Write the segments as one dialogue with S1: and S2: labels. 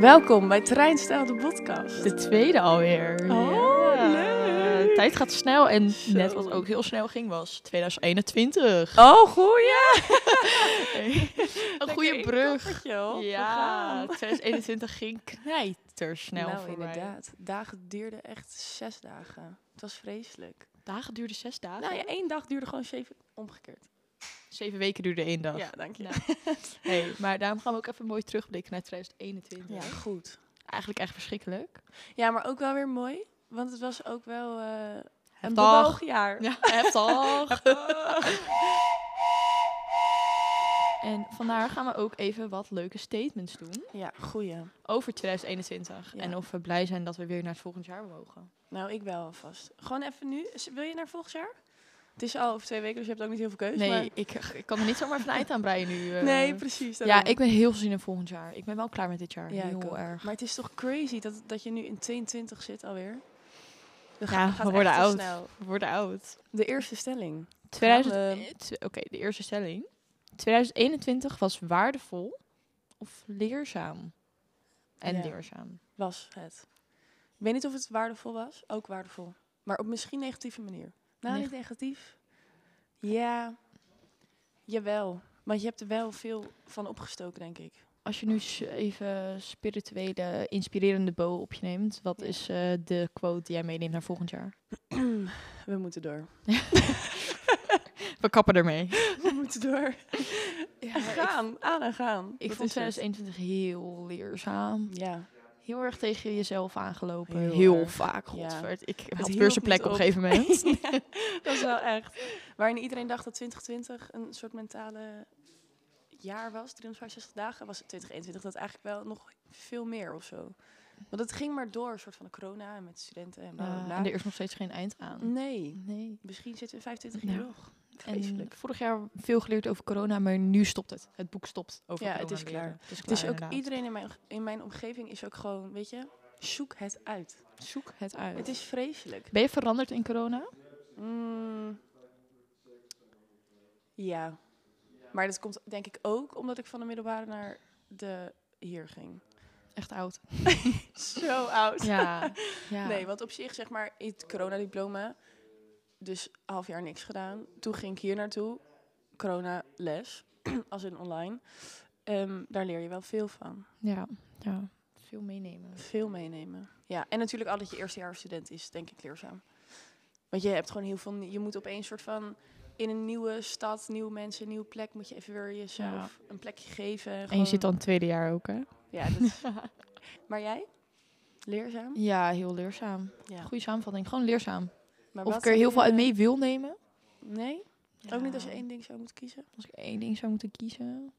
S1: Welkom bij Treinstel de podcast.
S2: De tweede alweer.
S1: Oh,
S2: Ja.
S1: leuk.
S2: Tijd gaat snel en
S1: Zo.
S2: net wat ook heel snel ging was 2021.
S1: Oh, goeie.
S2: Een goede brug.
S1: Ja.
S2: Ja, 2021 ging knijtersnel
S1: nou,
S2: voorbij.
S1: inderdaad. Dagen duurden echt zes dagen. Het was vreselijk.
S2: Dagen duurden zes dagen.
S1: Nou ja, één dag duurde gewoon zeven omgekeerd.
S2: Zeven weken duurde één dag.
S1: Ja, dank je.
S2: Nou, Hey, maar daarom gaan we ook even mooi terugblikken naar 2021.
S1: Ja, goed.
S2: Eigenlijk echt verschrikkelijk.
S1: Ja, maar ook wel weer mooi. Want het was ook wel eh, een
S2: Heftig.
S1: bewogen jaar.
S2: Ja, heftig. En vandaar gaan we ook even wat leuke statements doen
S1: Ja, goeie.
S2: over 2021.
S1: Ja.
S2: En of we blij zijn dat we weer naar het volgend jaar mogen.
S1: Nou, ik wel alvast. Gewoon even nu. S- Wil je naar volgend jaar? Het is al over twee weken, dus je hebt ook niet heel veel keuze.
S2: Nee, ik, ik kan er niet zomaar van eind aan breien nu. eh.
S1: maar... nee precies.
S2: Ja,
S1: daarom.
S2: ik ben heel veel zin in volgend jaar. Ik ben wel klaar met dit jaar.
S1: Ja, ik ook.
S2: heel erg.
S1: Maar het is toch crazy dat, dat je nu in 22 zit alweer? Dat
S2: Ja,
S1: gaat-
S2: we
S1: gaat
S2: worden
S1: echt te
S2: oud.
S1: snel.
S2: We worden oud.
S1: De eerste stelling.
S2: 2000,
S1: Gaan we-
S2: eh, tw- Oké, de eerste stelling. 2021 was waardevol of leerzaam? En
S1: Ja.
S2: leerzaam.
S1: was het. Ik weet niet of het waardevol was. Ook waardevol. Maar op misschien negatieve manier. Nou,
S2: Neg-
S1: niet negatief. Ja, jawel. Want je hebt er wel veel van opgestoken, denk ik.
S2: Als je nu s- even spirituele, inspirerende bow op je neemt, wat
S1: Ja.
S2: is eh, de quote die jij meeneemt naar volgend jaar?
S1: We moeten door.
S2: We kappen ermee.
S1: We moeten door. En gaan, aan en gaan.
S2: Ik
S1: Dat
S2: vond
S1: is het.
S2: 2021 heel leerzaam.
S1: Ja,
S2: Heel erg tegen jezelf aangelopen.
S1: Heel
S2: Heel,
S1: erg,
S2: vaak,
S1: ja.
S2: godverd. Ik
S1: hield
S2: had weer zijn plek
S1: niet
S2: op
S1: op.
S2: een gegeven moment.
S1: dat is wel echt. Waarin iedereen dacht dat 2020 een soort mentale jaar was, 365 dagen, was het 2021 dat eigenlijk wel nog veel meer of zo. Want het ging maar door, een soort van de corona en met studenten en bla bla
S2: Eh,
S1: bla.
S2: en er is nog steeds geen eind aan.
S1: Nou, Nee,
S2: Nee.
S1: misschien zitten we in 25
S2: Ja.
S1: jaar nog.
S2: En
S1: Vreselijk.
S2: vorig jaar veel geleerd over corona, maar nu stopt het. Het boek stopt over
S1: Ja,
S2: corona
S1: het is
S2: leren.
S1: klaar.
S2: Het is
S1: Het is
S2: klaar,
S1: ook,
S2: inderdaad.
S1: iedereen in mijn, in mijn omgeving is ook gewoon, weet je, zoek het uit.
S2: Zoek het uit.
S1: Het is vreselijk.
S2: Ben je veranderd in corona?
S1: Mm. Ja. Maar dat komt denk ik ook omdat ik van de middelbare naar de hier ging.
S2: Echt oud.
S1: Zo oud.
S2: Ja. ja.
S1: Nee, want op zich zeg maar in het coronadiploma, dus half jaar niks gedaan. Toen ging ik hier naartoe, corona-les, als in online. Ehm, daar leer je wel veel van.
S2: ja. Ja. Veel meenemen.
S1: Veel meenemen. Ja, en natuurlijk al dat je eerstejaarsstudent is, denk ik leerzaam. Want je hebt gewoon heel veel. Je moet opeens soort van in een nieuwe stad, nieuwe mensen, nieuwe plek, moet je even weer jezelf een plekje geven.
S2: En je zit dan het tweede jaar ook, hè?
S1: Ja, dat is- maar jij? Leerzaam?
S2: Ja, heel leerzaam.
S1: Ja.
S2: Goede samenvatting. Gewoon leerzaam.
S1: Maar
S2: Of
S1: wat
S2: ik er heel
S1: heb
S2: veel
S1: je- nou-
S2: uit mee wil nemen.
S1: Nee? Ook niet als je
S2: Ja.
S1: één ding zou moeten kiezen?
S2: Als ik één ding zou moeten kiezen.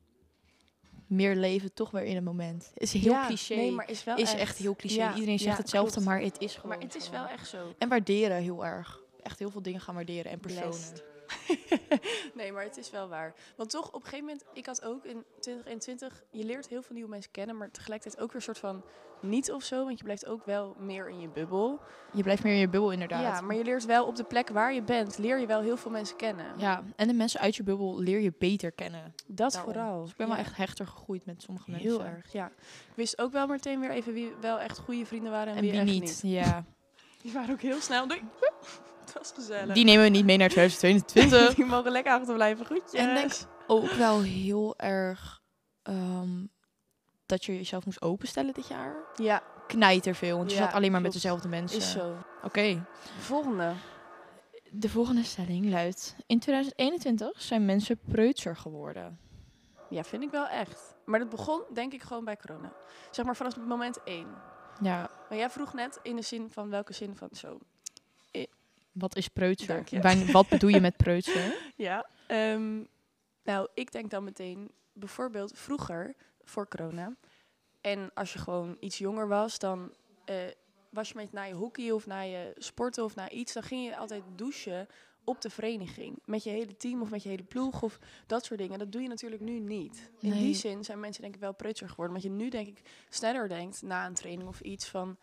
S2: Meer leven toch weer in het moment. Is heel
S1: Ja,
S2: cliché.
S1: Nee, maar is wel
S2: is echt, heel cliché.
S1: Ja,
S2: Iedereen zegt
S1: ja,
S2: hetzelfde,
S1: klopt.
S2: maar het is gewoon.
S1: Maar het is
S2: zo.
S1: wel echt zo.
S2: En waarderen heel erg. Echt heel veel dingen gaan waarderen en personen.
S1: Blessed. nee, maar het is wel waar. Want toch, op een gegeven moment, ik had ook in 2021, je leert heel veel nieuwe mensen kennen, maar tegelijkertijd ook weer een soort van niet of zo, want je blijft ook wel meer in je bubbel.
S2: Je blijft meer in je bubbel, inderdaad.
S1: Ja, maar je leert wel op de plek waar je bent, leer je wel heel veel mensen kennen.
S2: Ja, en de mensen uit je bubbel leer je beter kennen.
S1: Dat
S2: Daarom.
S1: vooral.
S2: Dus ik ben
S1: Ja.
S2: wel echt hechter gegroeid met sommige mensen.
S1: heel erg. Ja. Ik wist ook wel meteen weer even wie wel echt goede vrienden waren en,
S2: En wie
S1: echt
S2: niet. Ja.
S1: Die waren ook heel snel. Doei. Het was gezellig.
S2: Die nemen we niet mee naar 2022.
S1: Die mogen lekker achterblijven. Goed.
S2: En denk ook wel heel erg ehm, dat je jezelf moest openstellen dit jaar.
S1: Ja,
S2: Knijter veel, want je
S1: Ja,
S2: zat alleen maar met
S1: klopt.
S2: dezelfde mensen.
S1: is zo.
S2: Oké.
S1: Volgende.
S2: De volgende stelling luidt: In 2021 zijn mensen preutser geworden.
S1: Ja, vind ik wel echt. Maar dat begon denk ik gewoon bij corona. Zeg maar vanaf moment één.
S2: Ja,
S1: Maar jij vroeg net in de zin van welke zin van zo.
S2: wat is
S1: Dank
S2: preutser?
S1: je.
S2: Wijn- Wat bedoel je met preutser?
S1: Ja. ehm, nou, ik denk dan meteen bijvoorbeeld vroeger, voor corona. En als je gewoon iets jonger was, dan eh, was je met naar je hockey of naar je sporten of naar iets. Dan ging je altijd douchen op de vereniging. Met je hele team of met je hele ploeg of dat soort dingen. Dat doe je natuurlijk nu niet. In
S2: Nee.
S1: die zin zijn mensen denk ik wel preutser geworden. Want je nu denk ik sneller denkt na een training of iets van...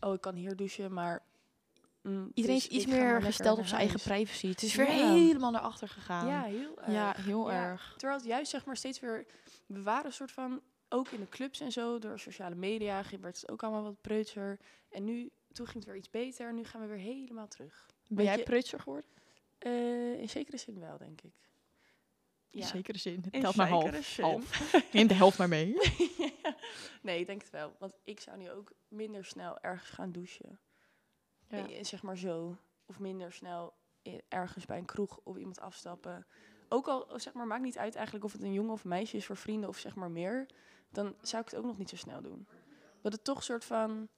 S1: Oh, ik kan hier douchen, maar... mm,
S2: Iedereen
S1: dus
S2: is iets
S1: ik ga maar
S2: meer
S1: lekker
S2: gesteld
S1: naar
S2: op zijn eigen
S1: huis.
S2: privacy. Het is
S1: Ja.
S2: weer helemaal naar achter gegaan.
S1: Ja, heel erg.
S2: Ja, heel
S1: Ja.
S2: erg.
S1: Terwijl het juist zeg maar steeds weer... We waren een soort van... Oké, ook in de clubs en zo, door sociale media, ging- werd het ook allemaal wat preutser. En nu, toen ging het weer iets beter en nu gaan we weer helemaal terug.
S2: Ben jij
S1: je-
S2: preutser geworden?
S1: Eh, in zekere zin wel, denk ik.
S2: In zekere zin.
S1: In
S2: Telt maar
S1: zekere
S2: half.
S1: zin.
S2: half. Neem de helft maar mee.
S1: Nee, ik denk het wel. Want ik zou nu ook minder snel ergens gaan douchen.
S2: Ja.
S1: Eh, Zeg maar zo. Of minder snel i- ergens bij een kroeg op iemand afstappen. Ook al, zeg maar, maakt niet uit eigenlijk of het een jongen of een meisje is voor vrienden of zeg maar meer. Dan zou ik het ook nog niet zo snel doen. Dat het toch een soort van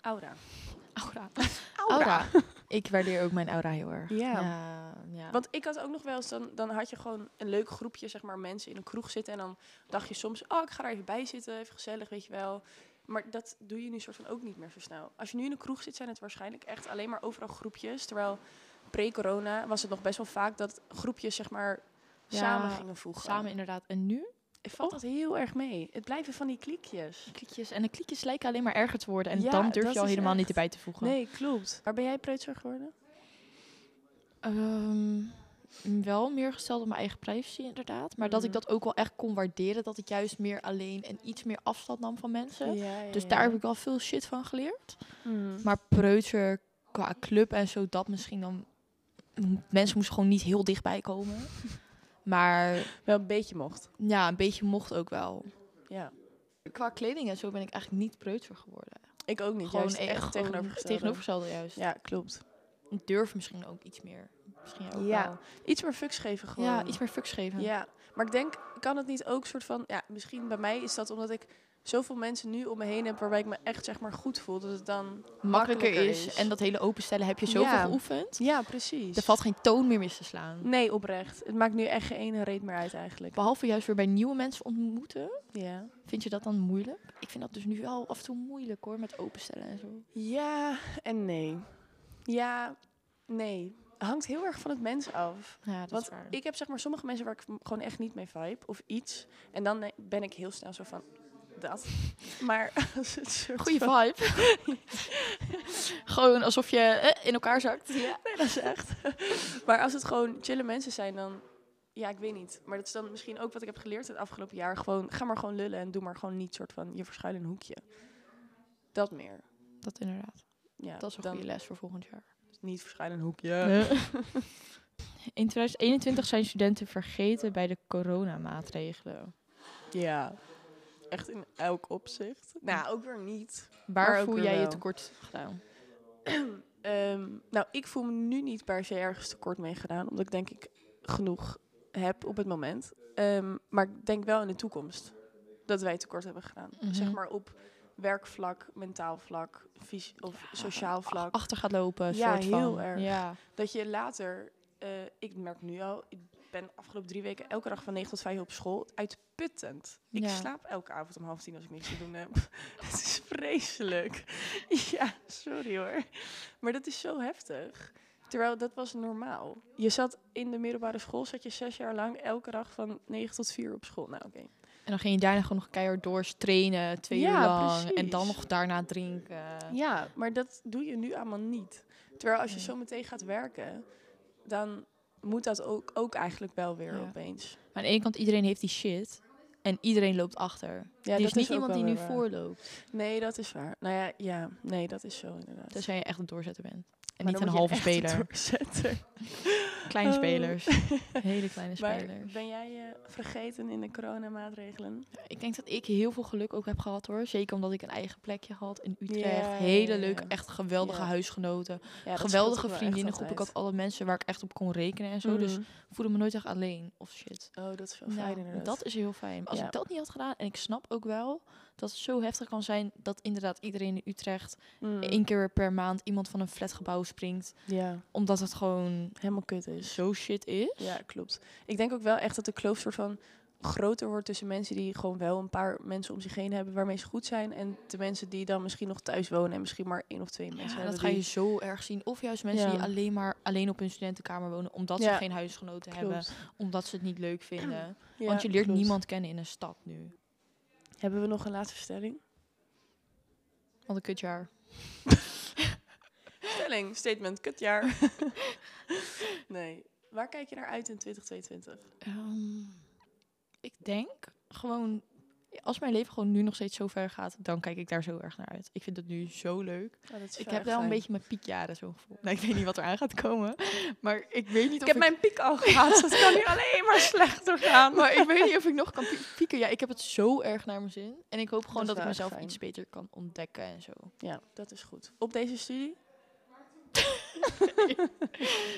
S1: aura.
S2: Aura. Aura. Ik waardeer ook mijn aura heel erg.
S1: Ja.
S2: ja, ja.
S1: Want ik had ook nog wel eens, dan, dan had je gewoon een leuk groepje, zeg maar, mensen in een kroeg zitten. En dan dacht je soms, oh, ik ga er even bij zitten, even gezellig, weet je wel. Maar dat doe je nu soort van ook niet meer zo snel. Als je nu in een kroeg zit, zijn het waarschijnlijk echt alleen maar overal groepjes. Terwijl pre-corona was het nog best wel vaak dat groepjes, zeg maar,
S2: Ja,
S1: samen gingen voegen.
S2: Samen inderdaad. En nu?
S1: Ik vat
S2: Oh.
S1: dat heel erg mee. Het blijven van die kliekjes.
S2: Klikjes. En de klikjes lijken alleen maar erger te worden. En
S1: Ja,
S2: dan durf
S1: dat
S2: je al
S1: is
S2: helemaal niet
S1: echt-
S2: erbij te voegen.
S1: Nee, klopt. Maar ben jij preutser geworden?
S2: Ehm, wel meer gesteld op mijn eigen privacy, inderdaad. Maar dat ik
S1: Mhm.
S2: dat ook wel echt kon waarderen. Dat ik juist meer alleen en iets meer afstand nam van mensen.
S1: ja,
S2: Dus daar heb ik wel veel shit van geleerd. Maar preutser qua club en zo, dat misschien dan... Mensen moesten gewoon niet heel dichtbij komen. Maar
S1: wel een beetje mocht.
S2: ja, een beetje mocht ook wel.
S1: Ja.
S2: Qua kleding en zo ben ik eigenlijk niet preutser geworden.
S1: Ik ook niet. Juist
S2: e-
S1: echt tegenovergesteld.
S2: tegenovergestelde juist.
S1: Ja, klopt.
S2: Ik durf misschien ook iets meer. Misschien ook
S1: Ja,
S2: wel.
S1: Iets meer fucks geven gewoon.
S2: Ja, iets meer fucks geven.
S1: Ja, maar ik denk, kan het niet ook soort van... Ja, misschien bij mij is dat omdat ik zoveel mensen nu om me heen heb... waarbij ik me echt zeg maar goed voel, dat het dan...
S2: makkelijker
S1: makkelijker
S2: is.
S1: is.
S2: En dat hele openstellen heb je zoveel
S1: Ja.
S2: geoefend.
S1: Ja, precies.
S2: Er valt geen toon meer mis te slaan.
S1: Nee, oprecht. Het maakt nu echt geen ene reet meer uit eigenlijk.
S2: Behalve juist weer bij nieuwe mensen ontmoeten.
S1: Ja.
S2: Vind je dat dan moeilijk? Ik vind dat dus nu wel af en toe moeilijk hoor, met openstellen en zo.
S1: Ja en nee. Ja, nee. Hangt heel erg van het mens af.
S2: Ja, dat
S1: Want ik heb zeg maar sommige mensen waar ik m- gewoon echt niet mee vibe of iets. En dan eh, ben ik heel snel zo van dat. Maar als het soort
S2: Goeie
S1: van-
S2: vibe. Gewoon alsof je eh, in elkaar zakt.
S1: Nee, dat is echt. maar als het gewoon chille mensen zijn, dan. Ja, ik weet niet. Maar dat is dan misschien ook wat ik heb geleerd het afgelopen jaar. Gewoon, ga maar gewoon lullen en doe maar gewoon niet soort van je verschuil in een hoekje. Dat meer.
S2: Dat inderdaad.
S1: Ja,
S2: dat is een
S1: dan
S2: goede les voor volgend jaar.
S1: Niet verschuil in een hoekje.
S2: In 2021 zijn studenten vergeten bij de coronamaatregelen.
S1: Ja. Echt in elk opzicht. Nou, ook weer niet.
S2: Waar
S1: Maar ook
S2: voel
S1: weer
S2: jij je
S1: wel.
S2: tekort gedaan?
S1: Ehm, nou, ik voel me nu niet per se ergens tekort mee gedaan, omdat ik denk ik genoeg heb op het moment. Ehm, maar ik denk wel in de toekomst dat wij tekort hebben gedaan.
S2: Mhm.
S1: Zeg maar op werkvlak, mentaal vlak, fys- of sociaal vlak.
S2: Achter gaat lopen,
S1: Ja,
S2: soort van.
S1: heel erg.
S2: Ja.
S1: Dat je later, eh, ik merk nu al, ik ben afgelopen drie weken elke dag van 9 tot 5 op school. Uitputtend. Ik
S2: Ja.
S1: slaap elke avond om half tien als ik niks te doen heb. Het is vreselijk. ja, sorry hoor. Maar dat is zo heftig. Terwijl dat was normaal. Je zat in de middelbare school, zat je zes jaar lang elke dag van 9 tot 4 op school. Nou, oké.
S2: En dan ging je daarna gewoon nog keihard door trainen, twee
S1: Ja,
S2: uur lang. En
S1: precies.
S2: dan nog daarna drinken.
S1: Ja, maar dat doe je nu allemaal niet. Terwijl als je
S2: Nee.
S1: zo meteen gaat werken, dan moet dat ook, ook eigenlijk wel weer
S2: Ja.
S1: opeens.
S2: Maar aan de ene kant, iedereen heeft die shit. En iedereen loopt achter.
S1: Ja,
S2: er is
S1: dat
S2: niet
S1: ook
S2: iemand
S1: wel
S2: die nu
S1: weer waar.
S2: voorloopt.
S1: Nee, dat is waar. Nou ja, ja nee, dat is zo inderdaad.
S2: Tenzij je echt een doorzetter bent. Dus- En
S1: Maar
S2: niet
S1: dan
S2: een
S1: moet je
S2: halve
S1: echt een
S2: speler.
S1: doorzetter.
S2: Kleine
S1: Oh.
S2: spelers. Hele kleine
S1: Maar
S2: spelers.
S1: ben jij eh, vergeten in de coronamaatregelen?
S2: Ik denk dat ik heel veel geluk ook heb gehad hoor. Zeker omdat ik een eigen plekje had in Utrecht.
S1: Ja, ja,
S2: Hele
S1: ja,
S2: leuke,
S1: ja.
S2: echt geweldige
S1: Ja.
S2: huisgenoten.
S1: Ja, dat
S2: geweldige
S1: scheelt ook wel echt
S2: vriendinnengroep. Ik had
S1: altijd.
S2: alle mensen waar ik echt op kon rekenen en zo. Dus
S1: Mhm.
S2: ik voelde me nooit echt alleen of shit.
S1: Oh, dat is wel
S2: Ja,
S1: fijn inderdaad.
S2: Dat is heel fijn. Maar als
S1: Ja.
S2: ik dat niet had gedaan, en ik snap ook wel dat het zo heftig kan zijn dat inderdaad iedereen in Utrecht
S1: Mm.
S2: één keer per maand iemand van een flatgebouw springt,
S1: Ja,
S2: omdat het gewoon
S1: helemaal kut is.
S2: zo shit is.
S1: Ja, klopt. Ik denk ook wel echt dat de kloof soort van groter wordt tussen mensen die gewoon wel een paar mensen om zich heen hebben waarmee ze goed zijn en de mensen die dan misschien nog thuis wonen en misschien maar één of twee
S2: Ja,
S1: mensen
S2: en dat
S1: hebben
S2: ga je
S1: die-
S2: zo erg zien. Of juist mensen
S1: Ja.
S2: die alleen maar alleen op hun studentenkamer wonen, omdat ze
S1: Ja.
S2: geen huisgenoten hebben,
S1: Klopt.
S2: omdat ze het niet leuk vinden.
S1: Ja,
S2: Want je leert
S1: klopt.
S2: niemand kennen in een stad nu.
S1: Hebben we nog een laatste stelling?
S2: Wat een kutjaar.
S1: Stelling, statement, kutjaar. nee. Waar kijk je naar uit in 2022?
S2: Ehm, ik denk gewoon als mijn leven gewoon nu nog steeds zo ver gaat, dan kijk ik daar zo erg naar uit. Ik vind het nu zo leuk.
S1: Ja, Oh, dat is
S2: ik
S1: wel
S2: heb
S1: echt
S2: wel een
S1: fijn.
S2: beetje mijn piekjaren zo'n gevoel. Nou, ik weet niet wat er aan gaat komen, maar ik weet niet
S1: Ik
S2: of
S1: heb mijn piek al gehad. Het kan nu alleen maar slechter gaan.
S2: Maar ik weet niet of ik nog kan pie- pieken. Ja, ik heb het zo erg naar mijn zin. En ik hoop gewoon
S1: is
S2: dat, ik
S1: wel echt
S2: mezelf
S1: fijn.
S2: iets beter kan ontdekken en zo.
S1: Ja, dat is goed. Op deze studie?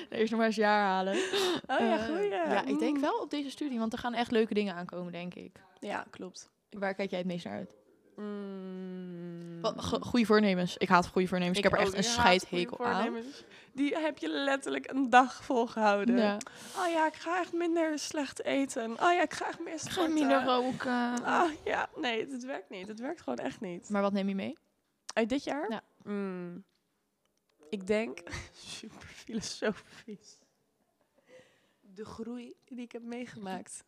S2: Eerst nog maar eens jaar halen.
S1: Oh ja, Mm.
S2: Eh,
S1: goed.
S2: Ja, ik denk wel op deze studie, want er gaan echt leuke dingen aankomen, denk ik.
S1: Ja, klopt.
S2: Waar kijk jij het meest naar uit?
S1: Mm.
S2: Wat- go- Goede voornemens. Ik haat goede voornemens. Ik, heb er
S1: ook.
S2: echt een
S1: Je haat
S2: scheidhekel
S1: goede
S2: aan.
S1: voornemens. Die heb je letterlijk een dag volgehouden.
S2: Ja.
S1: Oh ja, ik ga echt minder slecht eten. Oh ja, ik ga echt meer
S2: Ik
S1: sporten.
S2: ga minder roken.
S1: Oh ja, nee, het werkt niet. Het werkt gewoon echt niet.
S2: Maar wat neem je mee?
S1: Uit dit jaar?
S2: Ja.
S1: Mm. Ik denk, super filosofisch, de groei die ik heb meegemaakt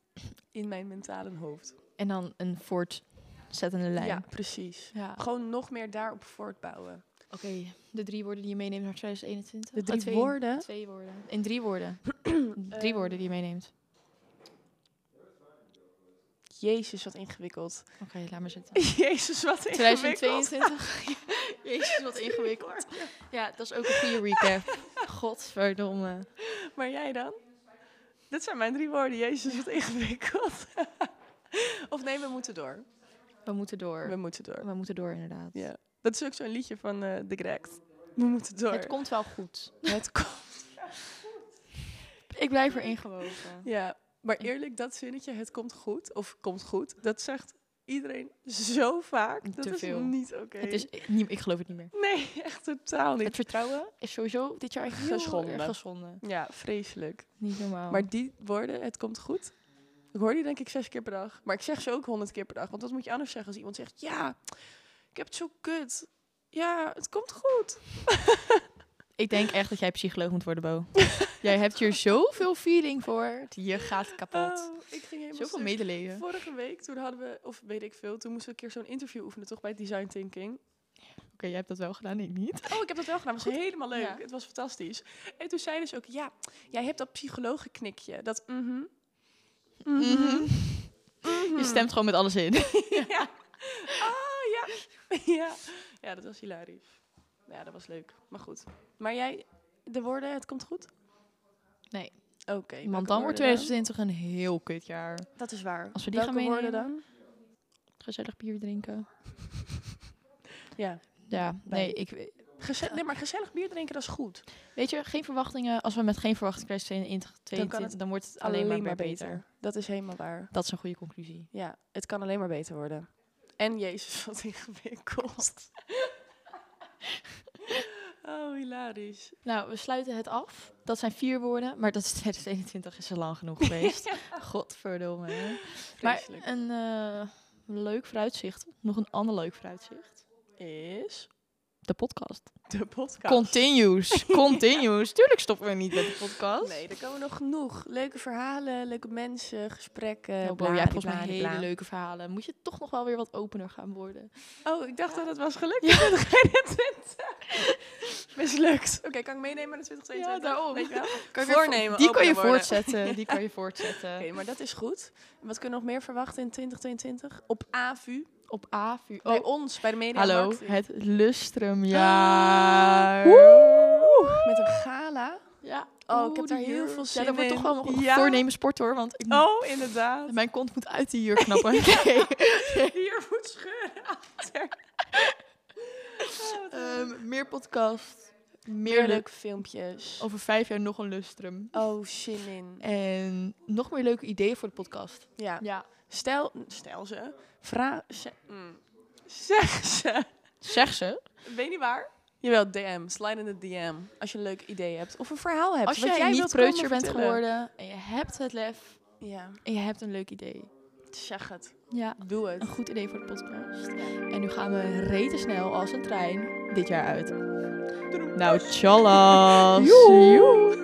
S1: in mijn mentale hoofd.
S2: En dan een voortzettende lijn.
S1: Ja, precies.
S2: Ja.
S1: Gewoon nog meer daarop voortbouwen.
S2: Oké, de drie woorden die je meeneemt naar 2021.
S1: De
S2: Oh,
S1: drie
S2: twee.
S1: woorden.
S2: Twee woorden. In drie woorden. drie
S1: Ehm,
S2: woorden die je meeneemt.
S1: Jezus, wat ingewikkeld.
S2: Oké, laat maar zitten.
S1: Jezus, wat ingewikkeld.
S2: 2022. Jezus, wat ingewikkeld. Ja, dat is ook een goede recap. Godverdomme.
S1: Maar jij dan? Dit zijn mijn drie woorden. Jezus, wat ingewikkeld. of nee, we moeten door.
S2: We moeten
S1: We
S2: door.
S1: moeten door.
S2: We moeten door, inderdaad.
S1: Ja. Dat is ook zo'n liedje van eh The Grekt. We moeten door.
S2: Het komt wel goed.
S1: Het komt.
S2: Ik blijf erin gewogen.
S1: Ja, maar eerlijk, dat zinnetje, het komt goed, of komt goed, dat zegt iedereen zo vaak. Dat
S2: Te
S1: is
S2: veel.
S1: niet oké.
S2: Het is, ik, niet, ik geloof het niet meer.
S1: Nee, echt totaal
S2: Het
S1: niet.
S2: vertrouwen is sowieso dit jaar echt heel
S1: Geschonden.
S2: erg geschonden.
S1: Ja, vreselijk.
S2: Niet normaal.
S1: Maar die woorden, het komt goed, ik hoor die denk ik zes keer per dag. Maar ik zeg ze ook honderd keer per dag, want dat moet je anders zeggen als iemand zegt, ja, ik heb het zo kut. Ja, het komt goed.
S2: ik denk echt dat jij psycholoog moet worden, Bo. jij hebt hier zoveel feeling voor. Je gaat kapot.
S1: Oh, ik ging helemaal
S2: Zoveel
S1: stuk.
S2: medeleven.
S1: Vorige week, toen hadden we, of weet ik veel, toen moesten we een keer zo'n interview oefenen, toch, bij Design Thinking.
S2: Oké, jij hebt dat wel gedaan, ik niet.
S1: Oh, ik heb dat wel gedaan. Het was helemaal leuk.
S2: Ja.
S1: Het was fantastisch. En toen zei dus ook, ja, jij hebt dat psychologenknikje. Dat mhm. Mhm.
S2: Je stemt gewoon met alles in.
S1: ja. Oh, ja. ja. Ja, dat was hilarisch. Ja, dat was leuk. Maar goed. Maar jij, de woorden, het komt goed?
S2: Nee.
S1: Oké.
S2: Want
S1: welke
S2: dan wordt
S1: woorden
S2: 2020 een heel kut jaar.
S1: Dat is waar.
S2: Als we die
S1: welke
S2: gaan
S1: woorden
S2: meenemen?
S1: dan?
S2: Gezellig bier drinken.
S1: Ja.
S2: Ja, nee,
S1: Bij-
S2: ik we-
S1: Geze- nee, maar gezellig bier drinken, dat is goed.
S2: weet je, geen verwachtingen. Als we met geen verwachtingen 2022,
S1: Dan
S2: dan,
S1: kan het
S2: wordt het alleen, maar, beter.
S1: Dat is helemaal waar.
S2: Dat is een goede conclusie.
S1: Ja, het kan alleen maar beter worden. En Jezus, wat ingewikkeld. oh, hilarisch.
S2: Nou, we sluiten het af. Dat zijn vier woorden, maar dat is 2021 is al lang genoeg geweest. Godverdomme. hè. Maar
S1: Vreselijk.
S2: een eh, leuk vooruitzicht, nog een ander leuk vooruitzicht.
S1: is
S2: De podcast.
S1: de podcast.
S2: Continues, continues. Tuurlijk stoppen we niet met de podcast. Eh,
S1: Nee, daar komen nog genoeg. Leuke verhalen, leuke mensen, gesprekken.
S2: Nou, Bo, jij hebt volgens mij hele leuke verhalen. Moet je toch nog wel weer wat opener gaan worden.
S1: Oh, ik dacht dat het was gelukt. Ja. 2021. Mislukt. Oké, kan ik meenemen naar de 2022?
S2: Ja, daarom.
S1: Weet je wel?
S2: Kan
S1: Kan
S2: ik
S1: ik
S2: weer
S1: weer Voornemen,
S2: die kan
S1: opener
S2: je
S1: worden.
S2: voortzetten. Die kan je voortzetten.
S1: Oké, maar dat is goed. En Wat kunnen we nog meer verwachten in 2022? Op AVU,
S2: Op AVU.
S1: bij ons, bij de media.
S2: Oh.
S1: Ah.
S2: hallo, het lustrumjaar.
S1: Oeh, met een gala.
S2: Ja.
S1: Oh, ik heb
S2: Oeh,
S1: daar
S2: die
S1: heel
S2: jurk.
S1: veel
S2: Ja,
S1: zin
S2: dat wordt toch
S1: in.
S2: wel nog
S1: Ja.
S2: voornemen sport hoor, want ik moet-
S1: Oh, inderdaad.
S2: mijn kont moet uit die jurk knappen. Nee.
S1: Hier moet scheuren achter. Oh,
S2: Ehm, meer podcast, meer leuk.
S1: Heerlijk filmpjes.
S2: Over vijf jaar nog een lustrum.
S1: Oh, zin in.
S2: En nog meer leuke ideeën voor de podcast.
S1: Ja.
S2: Ja.
S1: Stel, stel ze. Vraag ze. mm. Zeg ze.
S2: Zeg ze.
S1: Weet niet waar. Jawel, DM. Slide in de DM. Als je een leuk idee hebt. Of een verhaal hebt.
S2: Als
S1: wat
S2: jij, niet
S1: wilt
S2: preutser
S1: komen
S2: bent
S1: vertellen.
S2: geworden en je hebt het lef
S1: Ja,
S2: en je hebt een leuk idee.
S1: zeg het.
S2: Ja,
S1: Doe het.
S2: een goed idee voor de podcast. En nu gaan we reten snel als een trein dit jaar uit. Nou, tjallas.
S1: Joe.
S2: Joe.